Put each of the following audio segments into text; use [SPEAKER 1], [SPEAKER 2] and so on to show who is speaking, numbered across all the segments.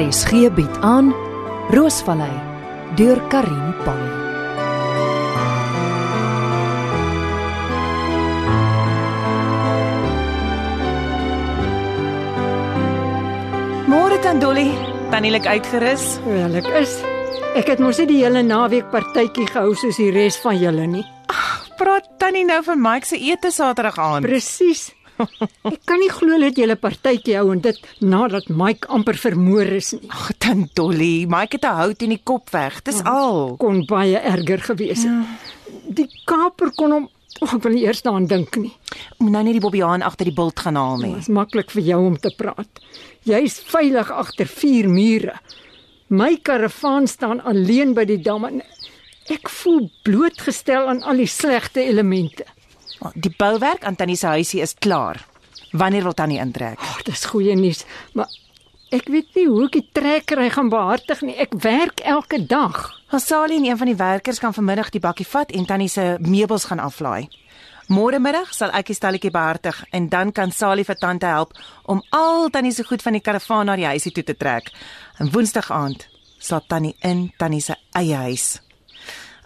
[SPEAKER 1] RSG bied aan Roosvallei deur Karin Pan.
[SPEAKER 2] Môre Tandolly, tannie lyk uitgerus.
[SPEAKER 3] Wel, ek is. Ek het mos nie die hele naweek partytjie gehou soos die res van julle nie.
[SPEAKER 2] Praat tannie nou van Mike se ete Saterdag aan.
[SPEAKER 3] Presies. Ek kan nie glo dat julle partytjie hou en dit nadat Mike amper vermoor is nie.
[SPEAKER 2] Ag Tandolly, Mike het 'n hout in die kop weg. Dis al.
[SPEAKER 3] Kon baie erger gewees het. Die kaper kon hom oh, Ek wil nie eers daaraan dink nie.
[SPEAKER 2] Moet nou nie die bobbejaan agter die bult gaan haal nie.
[SPEAKER 3] Dit is maklik vir jou om te praat. Jy's veilig agter vier mure. My karavaan staan alleen by die dam en ek voel blootgestel aan al die slegte elemente.
[SPEAKER 2] Die bouwerk aan tannie se huisie is klaar. Wanneer wil tannie intrek?
[SPEAKER 3] Ag, Oh, dis goeie nuus, maar ek weet nie hoe ek die trekkery gaan behartig nie. Ek werk elke dag.
[SPEAKER 2] Hasali en een van die werkers kan vanmiddag die bakkie vat en tannie se meubels gaan aflaai. Môre middag sal ek die stalletjie behartig en dan kan Sali vir tante help om al tannie se goed van die karavaan na die huisie toe te trek. En Woensdag aand slaap tannie in tannie se eie huis.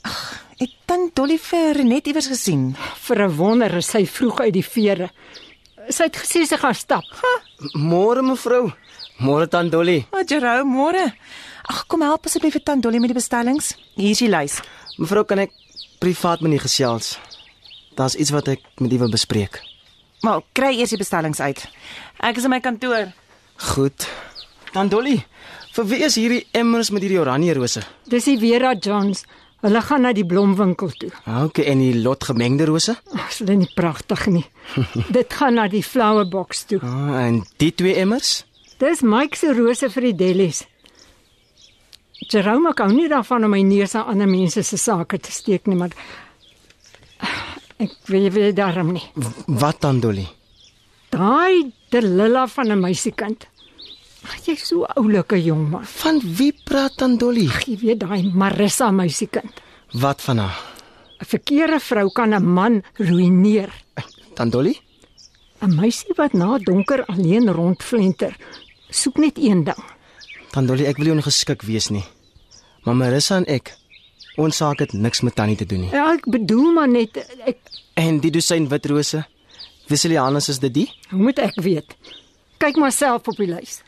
[SPEAKER 2] Ag, het tant Dolly vir net iewers gesien.
[SPEAKER 3] Vir 'n wonder is sy vroeg uit die vere. Sy het gesê sy gaan stap.
[SPEAKER 4] Môre mevrou. Môre tant Dolly.
[SPEAKER 2] O, Jerome, môre. Ag, kom help asseblief vir tant Dolly met die bestellings. Hier is die lys.
[SPEAKER 4] Mevrou, kan ek privaat met u gesels? Daar's iets wat ek met u wil bespreek.
[SPEAKER 2] Maar kry eers die bestellings uit. Ek is in my kantoor.
[SPEAKER 4] Goed. Tant Dolly, vir wie is hierdie emmers met hierdie oranje rose?
[SPEAKER 3] Dis die Vera Johns. Hulle gaan na die blomwinkel toe.
[SPEAKER 4] OK, en die lot gemengde rose?
[SPEAKER 3] Ag, is hulle nie pragtig nie. Dit gaan na die flower box toe.
[SPEAKER 4] Ah, en die twee emmers?
[SPEAKER 3] Dis Mike se rose vir die Dellies. Jerome ek hou nie daarvan om my neus aan ander mense se sake te steek nie, maar ek wil wil daarom nie.
[SPEAKER 4] Wat tant Dolly?
[SPEAKER 3] Daai Delila van 'n meisiekind. Ag, Jy's so oulike jong man.
[SPEAKER 4] Van wie praat tant Dolly?
[SPEAKER 3] Ag, Jy weet daai Marissa meisiekind.
[SPEAKER 4] Wat van haar?
[SPEAKER 3] 'n Verkeerde vrou kan 'n man ruïneer.
[SPEAKER 4] Tant Dolly?
[SPEAKER 3] 'n Meisie wat na donker alleen rondflenter, soek net een ding.
[SPEAKER 4] Tant Dolly, ek wil jou ongeskik wees nie. Maar Marissa en ek, ons saak het niks met tannie te doen nie.
[SPEAKER 3] Ja, ek bedoel maar net ek
[SPEAKER 4] En die dosyn wit rose? Wisselianus is dit die?
[SPEAKER 3] hoe moet ek weet? Kyk maar self op die lys.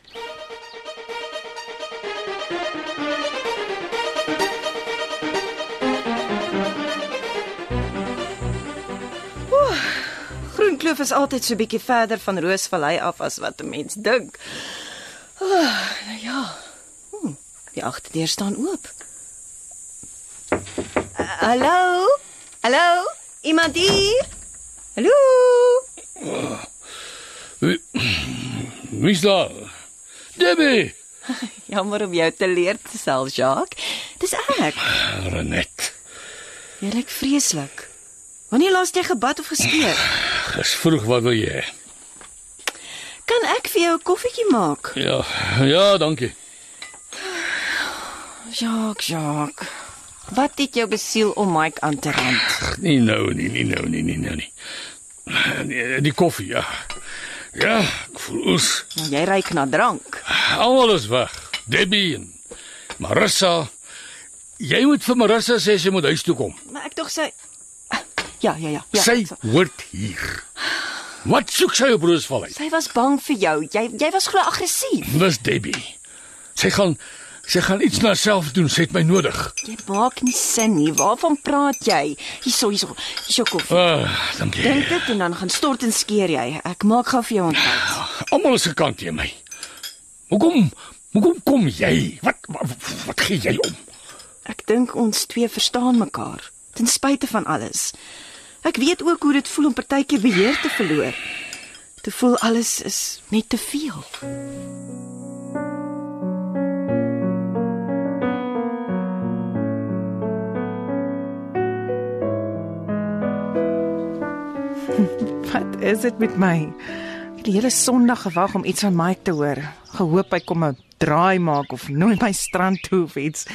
[SPEAKER 5] Groenkloof is altyd so bietjie verder van Roosvallei af as wat 'n mens dink. Ah, nou ja. Hm, die agterdeur staan oop. Ah, Hallo? Hallo? Iemand hier? Hallo?
[SPEAKER 6] Wie's daar? Debbie,
[SPEAKER 5] Jammer om jou te leer te sel, Jacques. Dis ek.
[SPEAKER 6] Renet.
[SPEAKER 5] Jy lyk vreeslik. Wanneer laas het jy gebad of geskeer?
[SPEAKER 6] Dis vroeg wat wil jy? hê?
[SPEAKER 5] Kan ek vir jou 'n koffietjie maak?
[SPEAKER 6] Ja, ja, dankie.
[SPEAKER 5] Jacques, Jacques. Wat het jou besiel om Mike aan te rand?
[SPEAKER 6] Ag, Nie nou nie, nie nou nie, nie nou nie. Die, die koffie, ja. Ja, ek voel oes.
[SPEAKER 5] Nou jy ry na drank.
[SPEAKER 6] Almal is weg. Debbie en Marissa. Jy moet vir Marissa sê sy moet huis toe kom.
[SPEAKER 5] Maar ek tog sê Ja, ja, ja. ja
[SPEAKER 6] Ja, sy
[SPEAKER 5] ek sal-
[SPEAKER 6] word hier. Wat soek sy op Roosvallei?
[SPEAKER 5] sy was bang vir jou. Jy jy was glo aggressief.
[SPEAKER 6] Dis Debbie. Sy gaan sy gaan iets na self doen. Sy het my nodig.
[SPEAKER 5] Jy maak nie sin nie. Waarvan praat jy? Hierso, hierso. Hierso koffie.
[SPEAKER 6] Ah, dankie.
[SPEAKER 5] Drink dit en dan gaan stort en skeer jy. Ek maak gou vir jou ontbyt.
[SPEAKER 6] Almal is gekant teen my. Hoekom? Hoekom kom jy? Wat wat, wat gee jy om?
[SPEAKER 5] Ek dink ons twee verstaan mekaar ten spyte van alles. Ek weet ook hoe dit voel om partykeer beheer te verloor. Te voel alles is net te veel.
[SPEAKER 2] Wat is dit met my? Ek het die hele Sondag gewag om iets van Mike te hoor. Gehoop hy kom 'n draai maak of nooi my strand toe of iets.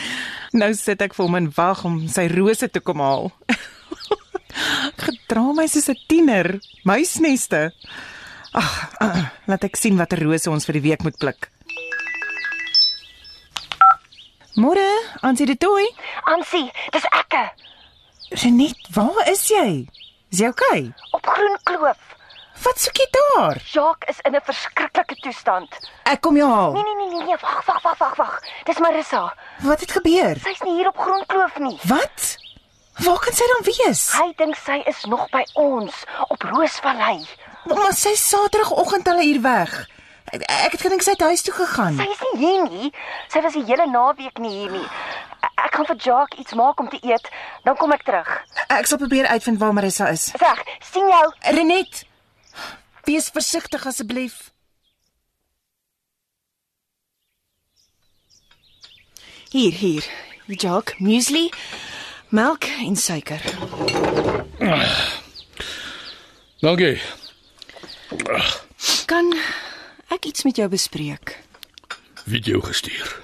[SPEAKER 2] Nou sit ek vir hom en wag om sy rose te kom haal. ek gedra my soos 'n tiener, muisneste. eh, Ag, ah, laat ek sien watter rose ons vir die week moet pluk. Môre, Ansie de Tooi.
[SPEAKER 7] Ansie, dis ekke
[SPEAKER 2] Renet, waar is jy? Is jy okay?
[SPEAKER 7] op Groen Kloof.
[SPEAKER 2] Wat soek jy daar?
[SPEAKER 7] Jacques is in 'n verskriklike toestand.
[SPEAKER 2] Ek kom jou haal.
[SPEAKER 7] Nee nee nee nee, nee, wag wag wag wag wag. Dis Marissa.
[SPEAKER 2] Wat het gebeur?
[SPEAKER 7] Sy's nie hier op Groen Kloof nie.
[SPEAKER 2] Wat? Waar kan sy dan wees?
[SPEAKER 7] Hy dink sy is nog by ons op Roosvallei.
[SPEAKER 2] Maar sy is Saterdagoggend al hier weg. Ek ek het gedink sy het huis toe gegaan.
[SPEAKER 7] Sy is nie hier nie. Sy was die hele naweek nie hier nie. E- Ek gaan vir Jacques iets maak om te eet, dan kom ek terug.
[SPEAKER 2] Ek sal probeer uitvind waar Marissa is.
[SPEAKER 7] Sag, sien jou.
[SPEAKER 2] Renet, wees versigtig asseblief.
[SPEAKER 5] Hier, hier. Jacques, muesli, melk en suiker.
[SPEAKER 6] Dankie.
[SPEAKER 5] Kan ek iets met jou bespreek?
[SPEAKER 6] Wie het jou gestuur?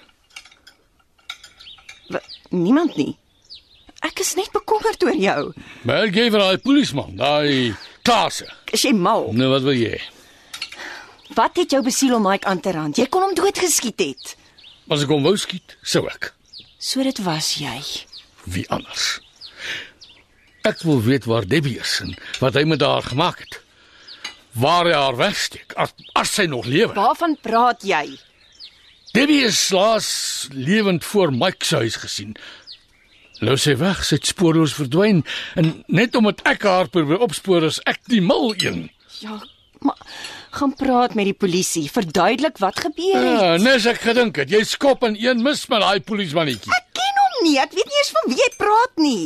[SPEAKER 5] W niemand nie. Ek is net bekommerd oor jou.
[SPEAKER 6] Wel gee vir daai polisieman, daai Klase.
[SPEAKER 5] Is jy mal?
[SPEAKER 6] Nou wat wil jy?
[SPEAKER 5] Wat het jou besiel om Mike aan te rand? Jy kon hom doodgeskiet het.
[SPEAKER 6] As ek hom wou skiet, sou ek.
[SPEAKER 5] So dit was jy.
[SPEAKER 6] Wie anders? Ek wil weet waar Debbie is en wat hy met haar gemaak het. Waar hy haar wegsteek as, as sy nog lewe.
[SPEAKER 5] Waarvan praat jy?
[SPEAKER 6] Debbie is laas lewend voor Mike se huis gesien. Nou sy weg, sy het spoorloos verdwyn en net omdat ek haar probeer opspoor is ek die mal een.
[SPEAKER 5] Ja, maar gaan praat met die polisie. Verduidelik wat gebeur het.
[SPEAKER 6] Ja, nes ek gedink het jy skop in een mis met daai polisiemanetjie.
[SPEAKER 5] Eh. Ek ken hom nie. Ek weet nie eens van wie jy praat nie.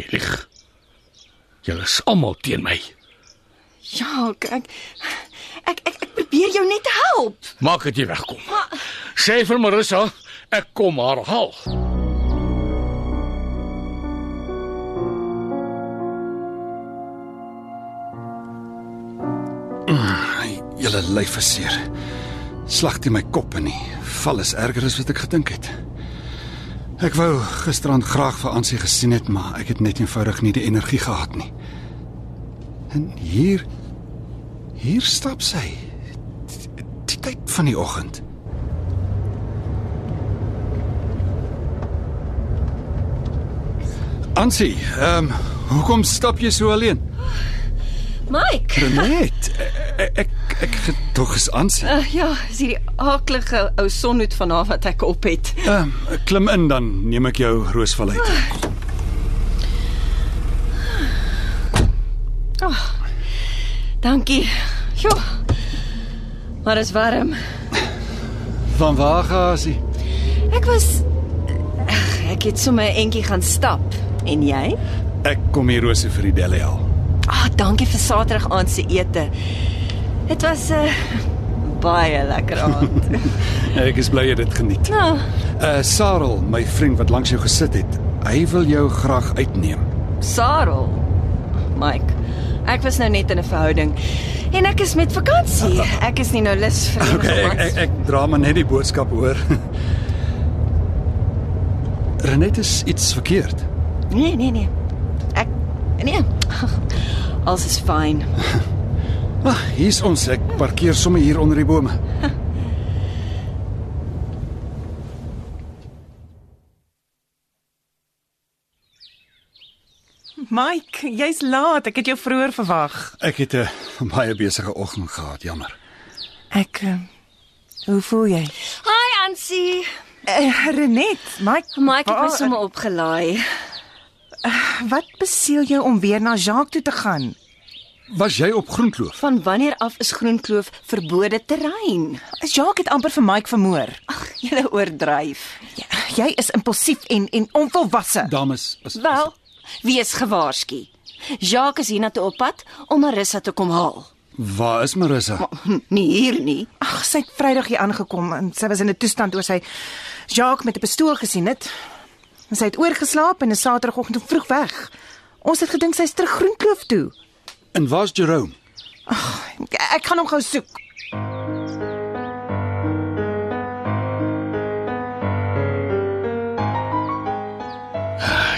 [SPEAKER 6] Jy lieg. Julle is almal teen my.
[SPEAKER 5] Ja, ek ek ek, ek, ek probeer jou net help.
[SPEAKER 6] Maak dit jy wegkom. Sê vir Marissa, ek kom haar haal.
[SPEAKER 8] Julle lyf is seer. Slag teen my kop in nie. Val is erger as wat ek gedink het. Ek wou gisterand graag vir Ansie gesien het, maar ek het net eenvoudig nie die energie gehad nie. En hier hier stap sy. Die, die tyd van die oggend. Ansie, ehm um, hoekom stap jy so alleen?
[SPEAKER 5] Mike.
[SPEAKER 8] Net. Ek e-, ek, ek gedog is Ansie.
[SPEAKER 5] Uh, ja, is hierdie aaklige ou sonhoed van haar wat ek op het.
[SPEAKER 8] Ehm, klim in dan neem ek jou Roosvallei toe.
[SPEAKER 5] Dankie. Jo. Maar is warm.
[SPEAKER 8] Van waar gaan jy?
[SPEAKER 5] Ek was Ag, ek het sommer 'n entjie gaan stap. En jy?
[SPEAKER 8] Ek kom hier Rosie vir die ja. Deli al.
[SPEAKER 5] Ah, dankie vir Saterdag aand se ete. Dit was 'n uh, baie lekker aand.
[SPEAKER 8] Ek is bly jy dit geniet.
[SPEAKER 5] nou,
[SPEAKER 8] Uh Sarel, my vriend wat langs jou gesit het, hy wil jou graag uitneem.
[SPEAKER 5] Sarel. Mike. Ek was nou net in 'n verhouding en ek is met vakansie. Ek is nie nou lus vir enige
[SPEAKER 8] Okay, ek
[SPEAKER 5] mans.
[SPEAKER 8] ek, ek dra maar net die boodskap hoor. Renet is iets verkeerd.
[SPEAKER 5] Nee, nee, nee. Ek nee. Alles is fyn.
[SPEAKER 8] Ag, Ah, hier's ons. Ek parkeer sommer hier onder die bome.
[SPEAKER 2] Mike, jy's laat. Ek het jou vroeër verwag.
[SPEAKER 8] Ek het 'n baie besige oggend gehad, jammer.
[SPEAKER 2] Ek eh, Hoe voel jy?
[SPEAKER 5] Hi Ansie.
[SPEAKER 2] Uh, Renet, Mike,
[SPEAKER 5] Mike het my
[SPEAKER 2] waar-
[SPEAKER 5] sommer opgelaai.
[SPEAKER 2] Wat beseel jou om weer na Jacques toe te gaan?
[SPEAKER 8] Was jy op Groenkloof?
[SPEAKER 5] Van wanneer af is Groenkloof verbode terrein?
[SPEAKER 2] Jacques het amper vir Mike vermoor.
[SPEAKER 5] Ag, jy oordryf.
[SPEAKER 2] Jy, jy is impulsief en en onvolwasse.
[SPEAKER 8] Dames, as, as
[SPEAKER 5] Wel, wees gewaarsku. Jacques is hiernatoe op pad om Marissa te kom haal.
[SPEAKER 8] Waar is Marissa?
[SPEAKER 5] Hm, Nie hier nie.
[SPEAKER 2] Ag, sy het Vrydag hier aangekom en sy was in 'n toestand oor sy Jacques met 'n pistool gesien het. En sy het oorgeslaap en is Saterdagoggend vroeg weg. Ons het gedink sy's terug Groenkloof toe.
[SPEAKER 8] En waar's Jerome?
[SPEAKER 2] Ek, ek gaan hom gou soek.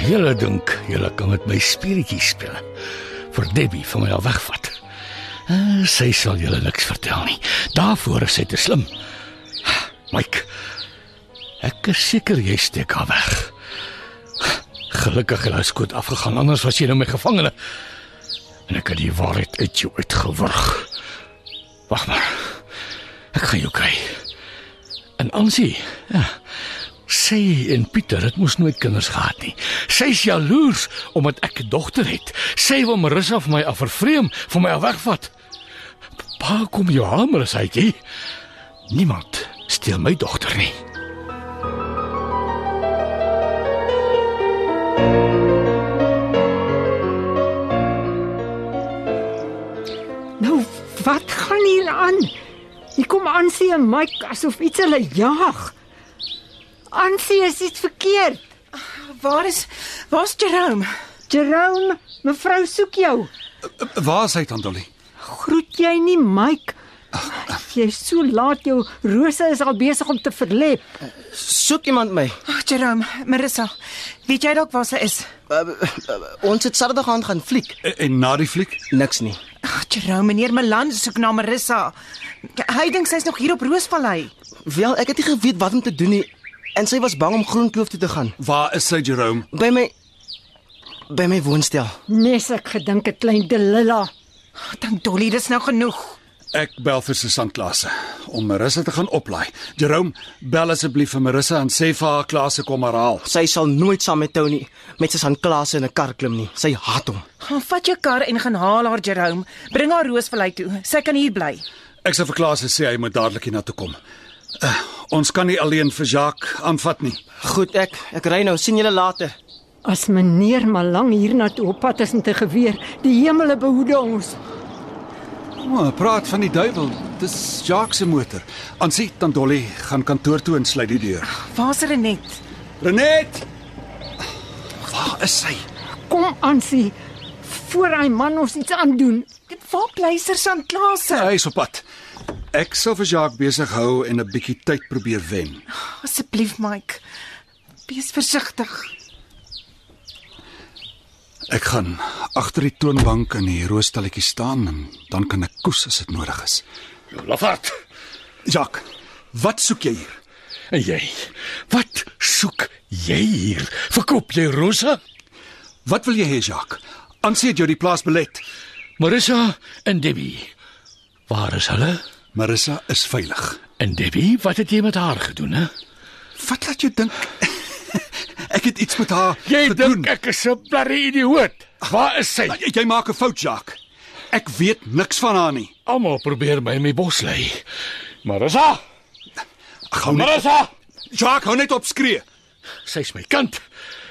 [SPEAKER 6] Julle dink julle kan met my speletjies speel. Vir Debbie van my al wegvat. Eh, Sy sal julle niks vertel nie. Daarvoor is sy te slim. Mike. Ek is seker jy steek haar weg. Gelukkig het hy skoot afgegaan anders was jy nou my gevangene. En ek het die waarheid uit jou uitgewurg. Wag maar. Ek gaan jou kry. En Ansie, ja. Sy en Pieter het mos nooit kinders gehad nie. Sy's jaloers omdat ek 'n dogter het. Sy wil Marissa van my af vervreem, van my af wegvat. Pa kom jou haal, Marissaatjie. Niemand steel my dogter nie.
[SPEAKER 3] Nou, wat gaan hier aan? Hier kom Ansie en Mike asof iets hulle jag. Ansie is iets verkeerd.
[SPEAKER 2] Waar is Waar's Jerome?
[SPEAKER 3] Jerome, mevrou soek jou.
[SPEAKER 8] Waar is hy dan Dolly?
[SPEAKER 3] Groet jy nie Mike? Jy's so laat jou rose is al besig om te verlep.
[SPEAKER 4] Soek iemand my.
[SPEAKER 2] Ag oh, Jerome, Marissa. Weet jy dalk waar sy is?
[SPEAKER 4] Uh, uh, uh, ons het Saterdag aan gaan fliek.
[SPEAKER 8] En, en Eh, na die fliek?
[SPEAKER 4] Niks nie.
[SPEAKER 2] Ag oh, Jerome, meneer Malan soek na Marissa. Hy dink sy's nog hier op Roosvallei.
[SPEAKER 4] Wel, ek het nie geweet wat om te doen nie en sy was bang om Groenkloof toe te gaan.
[SPEAKER 8] Waar is sy Jerome?
[SPEAKER 4] By my by my woonstel.
[SPEAKER 3] Nes ek gedink 'n klein Delilla.
[SPEAKER 2] Oh, dank Dolly, dis nou genoeg.
[SPEAKER 8] Ek bel vir Susan Klase om Marissa te gaan oplaai. Jerome, bel asseblief vir Marissa en sê vir haar Klase kom maar haal.
[SPEAKER 4] Sy sal nooit saam met Tony met sy son Klaas in 'n kar klim nie. Sy haat hom.
[SPEAKER 2] Gaan vat jou kar en gaan haal haar Jerome. Bring haar Roosvallei toe. Sy kan hier bly.
[SPEAKER 8] Ek sal vir Klase sê hy moet dadelik hiernatoe kom. Uh, ons kan nie alleen vir Jacques aanvat nie.
[SPEAKER 4] Goed, ek ek ry nou. sien julle later.
[SPEAKER 3] As meneer Malang hiernatoe op pad is met 'n geweer, die hemele behoede ons.
[SPEAKER 8] O, oh, praat van die duiwel. Dis Jacques se motor. Ansie Tandolly gaan kantoor toe en sluit die deur.
[SPEAKER 2] Waar's Renet?
[SPEAKER 8] Renet! Waar is sy?
[SPEAKER 3] Kom Ansie voor hy man ons iets aandoen.
[SPEAKER 2] Waar bly Sir Santlase?
[SPEAKER 8] Hy is op pad. Ek sal vir Jacques besig hou en 'n bietjie tyd probeer wen.
[SPEAKER 2] Asseblief Mike. Wees versigtig.
[SPEAKER 8] Ek gaan agter die toonbank in die roostalletjie staan en dan kan ek koes as dit nodig is.
[SPEAKER 6] Lafat.
[SPEAKER 8] Jacques, wat soek jy hier?
[SPEAKER 6] En jy? Wat soek jy hier? Verkoop jy Rosa?
[SPEAKER 8] Wat wil jy hê, Jacques? Ansie het jou die plaas belet.
[SPEAKER 6] Marissa en Debbie. Waar is hulle?
[SPEAKER 8] Marissa is veilig.
[SPEAKER 6] En Debbie, wat het jy met haar gedoen, hè?
[SPEAKER 8] Wat laat jou dink? ek het iets met haar
[SPEAKER 6] Jy
[SPEAKER 8] gedoen.
[SPEAKER 6] dink ek is 'n blerrie idioot. Waar is sy?
[SPEAKER 8] Jy, jy maak 'n fout, Jacques. Ek weet niks van haar nie.
[SPEAKER 6] Almal probeer my in my bos lei. Marissa,
[SPEAKER 8] Gou net.
[SPEAKER 6] Marissa,
[SPEAKER 8] Jacques, hou net op skree.
[SPEAKER 6] sy's my kind.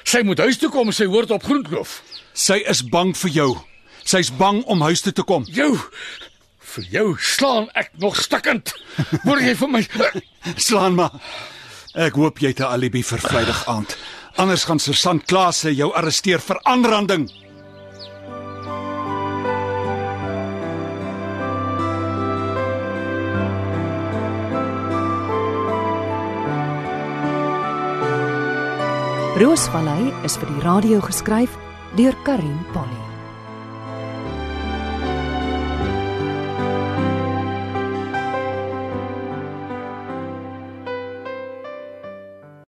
[SPEAKER 6] Sy moet huis toe kom, sy hoort op Groenkloof.
[SPEAKER 8] Sy is bang vir jou. Sy's bang om huis toe te kom.
[SPEAKER 6] Jou vir jou slaan ek nog stikkend. Word jy vir my
[SPEAKER 8] Slaan maar. Ek hoop jy het 'n alibi vir Vrydag aand. Anders gaan Susan Klase jou arresteer vir aanranding.
[SPEAKER 1] Roosvallei is vir die radio geskryf deur Karin Polly.